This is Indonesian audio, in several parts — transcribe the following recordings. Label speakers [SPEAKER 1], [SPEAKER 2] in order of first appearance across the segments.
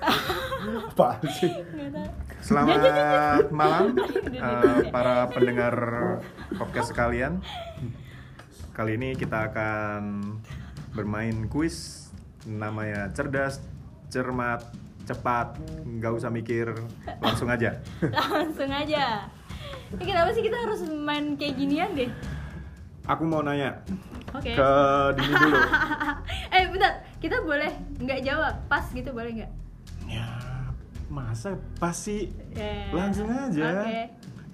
[SPEAKER 1] Apaan sih?
[SPEAKER 2] Nggak tahu.
[SPEAKER 3] Selamat malam
[SPEAKER 2] Udah,
[SPEAKER 3] eh,
[SPEAKER 2] udah.
[SPEAKER 3] para pendengar podcast sekalian. Kali ini kita akan bermain kuis namanya cerdas, cermat, cepat, nggak usah mikir, langsung aja.
[SPEAKER 2] Langsung aja. Ini kenapa sih kita harus main kayak ginian deh?
[SPEAKER 3] Aku mau nanya
[SPEAKER 2] Oke.
[SPEAKER 3] ke Dini dulu.
[SPEAKER 2] eh bentar, kita boleh nggak jawab pas gitu boleh nggak?
[SPEAKER 3] Ya, masa pasti
[SPEAKER 2] Eh,
[SPEAKER 3] langsung aja.
[SPEAKER 2] Oke.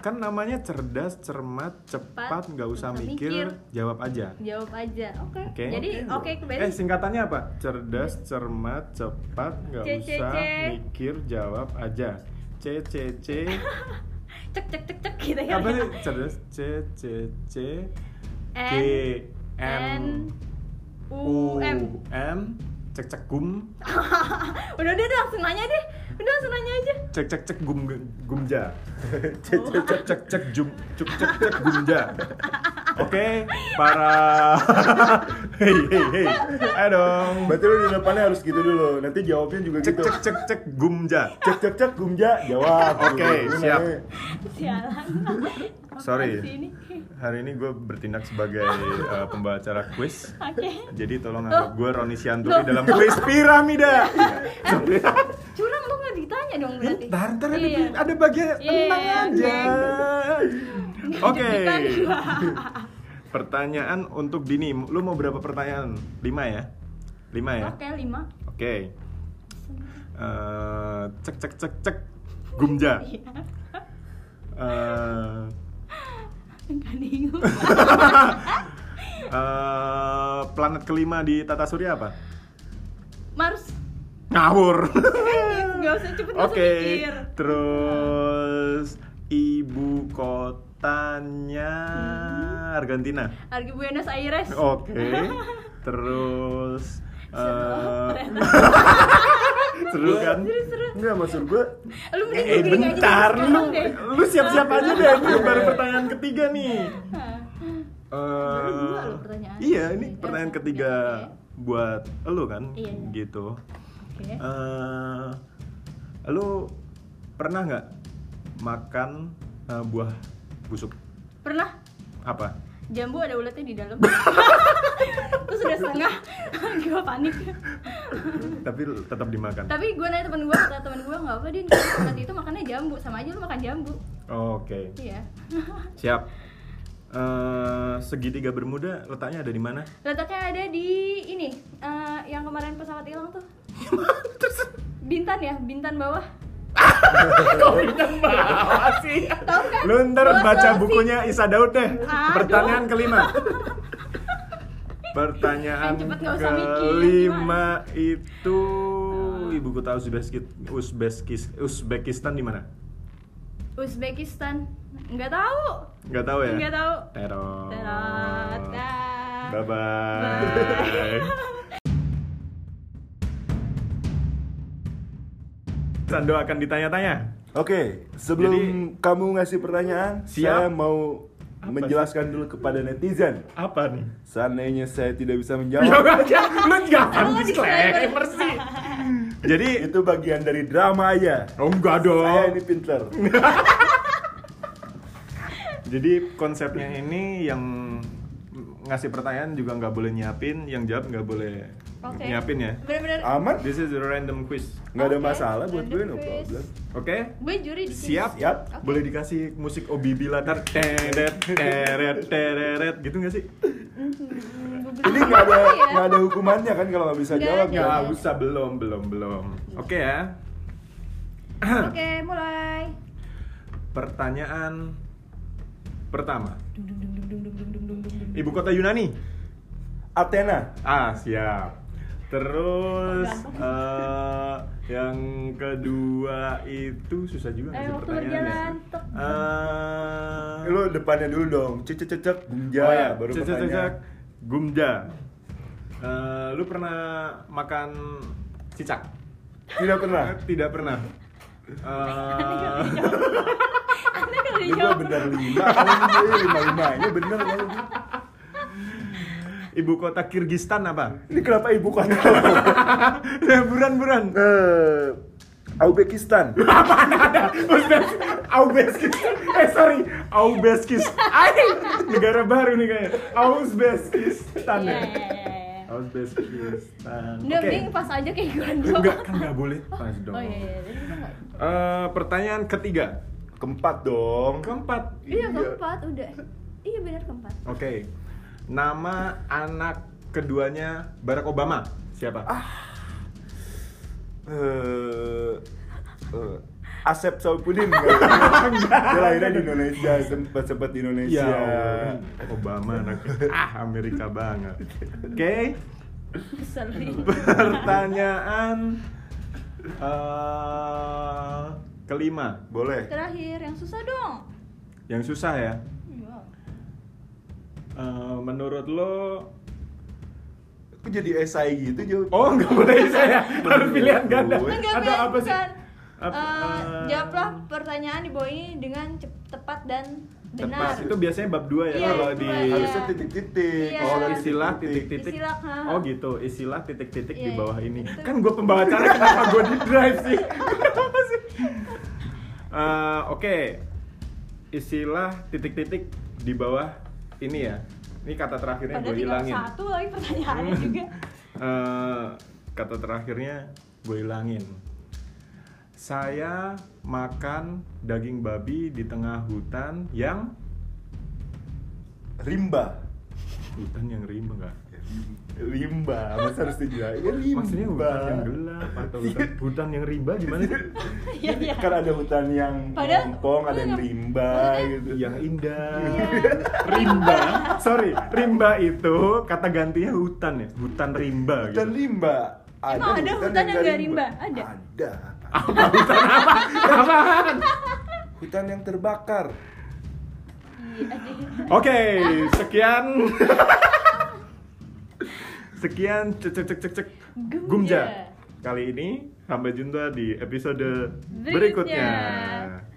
[SPEAKER 3] Kan namanya cerdas, cermat, cepat, nggak usah
[SPEAKER 2] nggak usah
[SPEAKER 3] mikir, jawab aja.
[SPEAKER 2] Jawab aja. Oke.
[SPEAKER 3] Oke.
[SPEAKER 2] Jadi oke
[SPEAKER 3] Eh
[SPEAKER 2] kembali.
[SPEAKER 3] singkatannya apa? Cerdas, cermat, cepat, nggak
[SPEAKER 2] C, C,
[SPEAKER 3] usah
[SPEAKER 2] C.
[SPEAKER 3] mikir, jawab aja. C C C.
[SPEAKER 2] Cek cek cek cek gitu ya.
[SPEAKER 3] apa sih? Cerdas C C C. G
[SPEAKER 2] N N,
[SPEAKER 3] M
[SPEAKER 2] U M.
[SPEAKER 3] M. Cek cek gum.
[SPEAKER 2] Udah udah udah, langsung nanya deh. Udah langsung nanya aja.
[SPEAKER 3] Cek cek cek gum gumja. Cek cek cek cek cek jum cek cek cek gumja. Oke, para hei hei hei, ayo dong.
[SPEAKER 1] Berarti lu di depannya harus gitu dulu. Nanti jawabnya juga
[SPEAKER 3] Cek
[SPEAKER 1] gitu.
[SPEAKER 3] cek cek cek gumja.
[SPEAKER 1] cek cek cek gumja jawab.
[SPEAKER 3] Oke, siap.
[SPEAKER 2] Sialan. Apaan
[SPEAKER 3] Sorry.
[SPEAKER 2] sih ini?
[SPEAKER 3] Hari ini gue bertindak sebagai uh, pembawa acara kuis.
[SPEAKER 2] Oke.
[SPEAKER 3] Jadi tolong anggap gue Roni Sianturi
[SPEAKER 2] Loh.
[SPEAKER 3] dalam kuis piramida.
[SPEAKER 2] Iya. Curang lu nggak ditanya dong berarti.
[SPEAKER 3] Ntar ntar ada,
[SPEAKER 2] Iya.
[SPEAKER 3] ada bagian
[SPEAKER 2] Iya,
[SPEAKER 3] tenang
[SPEAKER 2] iya,
[SPEAKER 3] aja. Oke.
[SPEAKER 2] Deg-degan gua.
[SPEAKER 3] Pertanyaan untuk Dini. Lu mau berapa pertanyaan? 5 ya? 5 ya?
[SPEAKER 2] Oke, lima.
[SPEAKER 3] Oke. Eh, cek cek cek cek gumja.
[SPEAKER 2] Iya.
[SPEAKER 3] Eh,
[SPEAKER 2] Enggak bingung.
[SPEAKER 3] eh, planet kelima di tata surya apa?
[SPEAKER 2] Mars.
[SPEAKER 3] Ngawur.
[SPEAKER 2] Enggak usah cepet
[SPEAKER 3] Oke.
[SPEAKER 2] nggak usah mikir.
[SPEAKER 3] Terus ibu kotanya Argentina.
[SPEAKER 2] Argi Buenos Aires.
[SPEAKER 3] Oke. Eh. Terus eh, seru kan?
[SPEAKER 2] Iya, Seru seru.
[SPEAKER 1] Enggak maksud gue
[SPEAKER 2] Lu mending
[SPEAKER 3] Eh
[SPEAKER 2] googling aja
[SPEAKER 3] bentar
[SPEAKER 2] dari
[SPEAKER 3] lu
[SPEAKER 2] sekarang deh.
[SPEAKER 3] lu siap-siap aja deh ini baru pertanyaan ketiga nih.
[SPEAKER 2] Hah.
[SPEAKER 3] Eh,
[SPEAKER 2] dua loh pertanyaan.
[SPEAKER 3] Iya, ini pertanyaan ketiga buat lu kan
[SPEAKER 2] Iya, iya.
[SPEAKER 3] gitu.
[SPEAKER 2] Oke.
[SPEAKER 3] eh lu pernah nggak makan eh, buah busuk?
[SPEAKER 2] Pernah
[SPEAKER 3] Apa?
[SPEAKER 2] jambu ada ulatnya di dalam. Terus udah setengah. Gua panik.
[SPEAKER 3] Tapi lu tetap dimakan.
[SPEAKER 2] tapi gue nanya temen gue kata temen gue nggak apa dia nggak suka tempat itu makannya jambu sama aja lu makan jambu
[SPEAKER 3] Oke,
[SPEAKER 2] iya
[SPEAKER 3] siap. eh segitiga Bermuda letaknya ada di mana?
[SPEAKER 2] letaknya ada di ini eh, yang kemarin pesawat hilang tuh bintan ya bintan bawah tahu kan
[SPEAKER 3] Lu ntar
[SPEAKER 2] Bawah
[SPEAKER 3] baca
[SPEAKER 2] Sulawesi.
[SPEAKER 3] bukunya Isa Daud deh.
[SPEAKER 2] Aduh.
[SPEAKER 3] Pertanyaan kelima.
[SPEAKER 2] Yang
[SPEAKER 3] Pertanyaan
[SPEAKER 2] cepet nggak usah mikir,
[SPEAKER 3] kelima itu ibu kota Uzbekistan Uzbekis- Uzbekistan di mana?
[SPEAKER 2] Uzbekistan nggak tahu
[SPEAKER 3] Nggak tahu ya? Oh.
[SPEAKER 2] nggak tahu
[SPEAKER 3] Terot.
[SPEAKER 2] Terot. Dah.
[SPEAKER 3] Bye
[SPEAKER 2] Bye.
[SPEAKER 3] bye. Sando akan ditanya-tanya.
[SPEAKER 1] Oke, sebelum
[SPEAKER 3] Jadi-
[SPEAKER 1] kamu ngasih pertanyaan,
[SPEAKER 3] Siap.
[SPEAKER 1] saya mau
[SPEAKER 3] Apa
[SPEAKER 1] menjelaskan dulu kepada netizen.
[SPEAKER 3] Apa nih?
[SPEAKER 1] Seandainya saya tidak bisa
[SPEAKER 3] Ya
[SPEAKER 1] menjawab,
[SPEAKER 3] aja, lu jangan
[SPEAKER 2] Lu
[SPEAKER 3] disclaimer
[SPEAKER 2] disclaimer.
[SPEAKER 3] sih. Jadi,
[SPEAKER 1] itu bagian dari drama aja.
[SPEAKER 3] oh enggak
[SPEAKER 1] Saya
[SPEAKER 3] dong.
[SPEAKER 1] ini pinter.
[SPEAKER 3] Jadi konsepnya ini yang ngasih pertanyaan juga nggak boleh nyiapin, yang jawab nggak boleh
[SPEAKER 2] Oke.
[SPEAKER 3] nyiapin ya.
[SPEAKER 2] bener-bener
[SPEAKER 1] Aman?
[SPEAKER 3] This is a random quiz.
[SPEAKER 1] Nggak ada
[SPEAKER 2] Oke,
[SPEAKER 1] masalah buat
[SPEAKER 2] random
[SPEAKER 1] gue, no
[SPEAKER 2] quiz.
[SPEAKER 1] problem.
[SPEAKER 3] Oke?
[SPEAKER 2] gue juri di sini
[SPEAKER 3] Siap?
[SPEAKER 1] Siap.
[SPEAKER 3] Boleh dikasih musik OBB latar teret teret teret gitu nggak sih?
[SPEAKER 2] Hmm, gua
[SPEAKER 1] Ini
[SPEAKER 2] bener-
[SPEAKER 1] nggak ada
[SPEAKER 2] Iya.
[SPEAKER 1] nggak ada hukumannya kan kalau nggak bisa
[SPEAKER 2] Nggak
[SPEAKER 1] jawab
[SPEAKER 2] ada.
[SPEAKER 1] ya.
[SPEAKER 3] Nggak usah belum belum belum. Oke ya.
[SPEAKER 2] oke mulai
[SPEAKER 3] Pertanyaan pertama. Ibu kota Yunani.
[SPEAKER 1] Athena.
[SPEAKER 3] Ah siap. Terus eh, yang kedua itu susah juga
[SPEAKER 2] Eh,
[SPEAKER 3] ngasih
[SPEAKER 2] waktu
[SPEAKER 3] pertanyaannya.
[SPEAKER 2] berjalan, tek.
[SPEAKER 3] Eh,
[SPEAKER 1] Lu depannya dulu dong. Cecek cecek gumja
[SPEAKER 3] Oh ya,
[SPEAKER 1] baru
[SPEAKER 3] cek, cek, cek, cek.
[SPEAKER 1] pertanyaan.
[SPEAKER 3] Gumja. Eh, lu pernah makan cicak?
[SPEAKER 1] Tidak pernah.
[SPEAKER 3] Eh, Tidak pernah. Eh,
[SPEAKER 2] Anda kalau
[SPEAKER 1] Ini gue
[SPEAKER 3] Iya.
[SPEAKER 2] dijawab
[SPEAKER 1] bener lima, kalau ini lima lima ya? ini bener ya. kalau gue.
[SPEAKER 3] ibu kota Kirgistan apa? Eh,
[SPEAKER 1] Ini kenapa ibu kota?
[SPEAKER 3] buran buran.
[SPEAKER 1] Eh, Uzbekistan.
[SPEAKER 3] Aubeskis. Eh sorry, Aubeskis. Aing, negara baru nih kayaknya. Ausbeskistan.
[SPEAKER 2] Iya,
[SPEAKER 3] ya?
[SPEAKER 2] iya, iya, iya.
[SPEAKER 3] Ausbeskistan.
[SPEAKER 2] Udah, mending pas aja kayak gue doang.
[SPEAKER 3] Enggak, kan enggak boleh. Pas dong.
[SPEAKER 2] Oh iya, iya. Jadi kita nggak-
[SPEAKER 3] Eh, pertanyaan ketiga.
[SPEAKER 1] Keempat dong.
[SPEAKER 3] Keempat.
[SPEAKER 2] Iya, keempat, udah. Iya benar keempat.
[SPEAKER 3] Oke. Nama anak keduanya Barack Obama. Siapa?
[SPEAKER 1] Ah, Eh, eh, Asep Saipudin enggak? Dia lahirnya di Indonesia, sempat sempat di
[SPEAKER 3] Ya
[SPEAKER 1] Indonesia.
[SPEAKER 3] Allah. Obama anak ah Amerika banget. Oke.
[SPEAKER 2] Sorry.
[SPEAKER 3] Pertanyaan eh, kelima,
[SPEAKER 1] Boleh.
[SPEAKER 2] Terakhir yang susah dong.
[SPEAKER 3] yang susah ya.
[SPEAKER 2] Iya.
[SPEAKER 3] Eh, menurut lo?
[SPEAKER 1] Kok jadi SI gitu jawab?
[SPEAKER 3] Oh nggak boleh saya harus pilihan ganda.
[SPEAKER 1] Gue-
[SPEAKER 2] Enggak,
[SPEAKER 3] Atau
[SPEAKER 2] enggak,
[SPEAKER 3] apa sih?
[SPEAKER 2] bukan.
[SPEAKER 3] Apa-
[SPEAKER 2] Eh,
[SPEAKER 3] eh,
[SPEAKER 2] jawablah pertanyaan di bawah ini dengan cep- tepat dan
[SPEAKER 3] Tepat.
[SPEAKER 2] benar.
[SPEAKER 3] Itu biasanya bab dua ya
[SPEAKER 2] Iya,
[SPEAKER 3] kalau
[SPEAKER 2] itu
[SPEAKER 3] di
[SPEAKER 2] Iya.
[SPEAKER 1] Harusnya titik-titik.
[SPEAKER 2] Iya.
[SPEAKER 1] Oh,
[SPEAKER 3] Oh,
[SPEAKER 1] ada
[SPEAKER 3] istilah titik-titik.
[SPEAKER 2] Istilah, ha.
[SPEAKER 3] Oh gitu, istilah titik-titik di
[SPEAKER 2] Iya,
[SPEAKER 3] bawah
[SPEAKER 2] iya.
[SPEAKER 3] ini.
[SPEAKER 2] Itu.
[SPEAKER 3] Kan gue pembawa acara kenapa gue di drive sih? Kenapa sih? Eh, Oke, istilah titik-titik di bawah ini ya. Ini kata terakhirnya
[SPEAKER 2] Padahal
[SPEAKER 3] gue
[SPEAKER 2] tinggal
[SPEAKER 3] hilangin. Hmm.
[SPEAKER 2] satu lagi pertanyaannya juga.
[SPEAKER 3] Eh, kata terakhirnya gue hilangin. Saya makan daging babi di tengah hutan yang
[SPEAKER 1] Rimba.
[SPEAKER 3] hutan yang rimba nggak?
[SPEAKER 1] Rimba, masa harus dijelasin? Ya, rimba. Iya.
[SPEAKER 3] Maksudnya hutan yang gelap atau hutan, hutan yang rimba gimana sih?
[SPEAKER 2] Iya, iya.
[SPEAKER 1] Kan ada hutan yang
[SPEAKER 2] Padahal-
[SPEAKER 1] pompong, ada yang
[SPEAKER 2] Iya.
[SPEAKER 1] rimba
[SPEAKER 2] Maksudnya-
[SPEAKER 1] gitu.
[SPEAKER 3] yang indah.
[SPEAKER 1] Iya.
[SPEAKER 3] rimba. Sorry, rimba itu kata gantinya hutan ya, hutan rimba
[SPEAKER 1] Hutan
[SPEAKER 3] gitu.
[SPEAKER 1] rimba.
[SPEAKER 2] Emang ada hutan yang nggak rimba? Ada.
[SPEAKER 1] Ada. Hutan yang terbakar.
[SPEAKER 2] Iya, deh.
[SPEAKER 3] Oke, sekian. sekian cek cek cek cek cek
[SPEAKER 2] Gumja.
[SPEAKER 3] Gumja. Kali ini sampai jumpa di episode
[SPEAKER 2] Berikutnya.
[SPEAKER 3] berikutnya.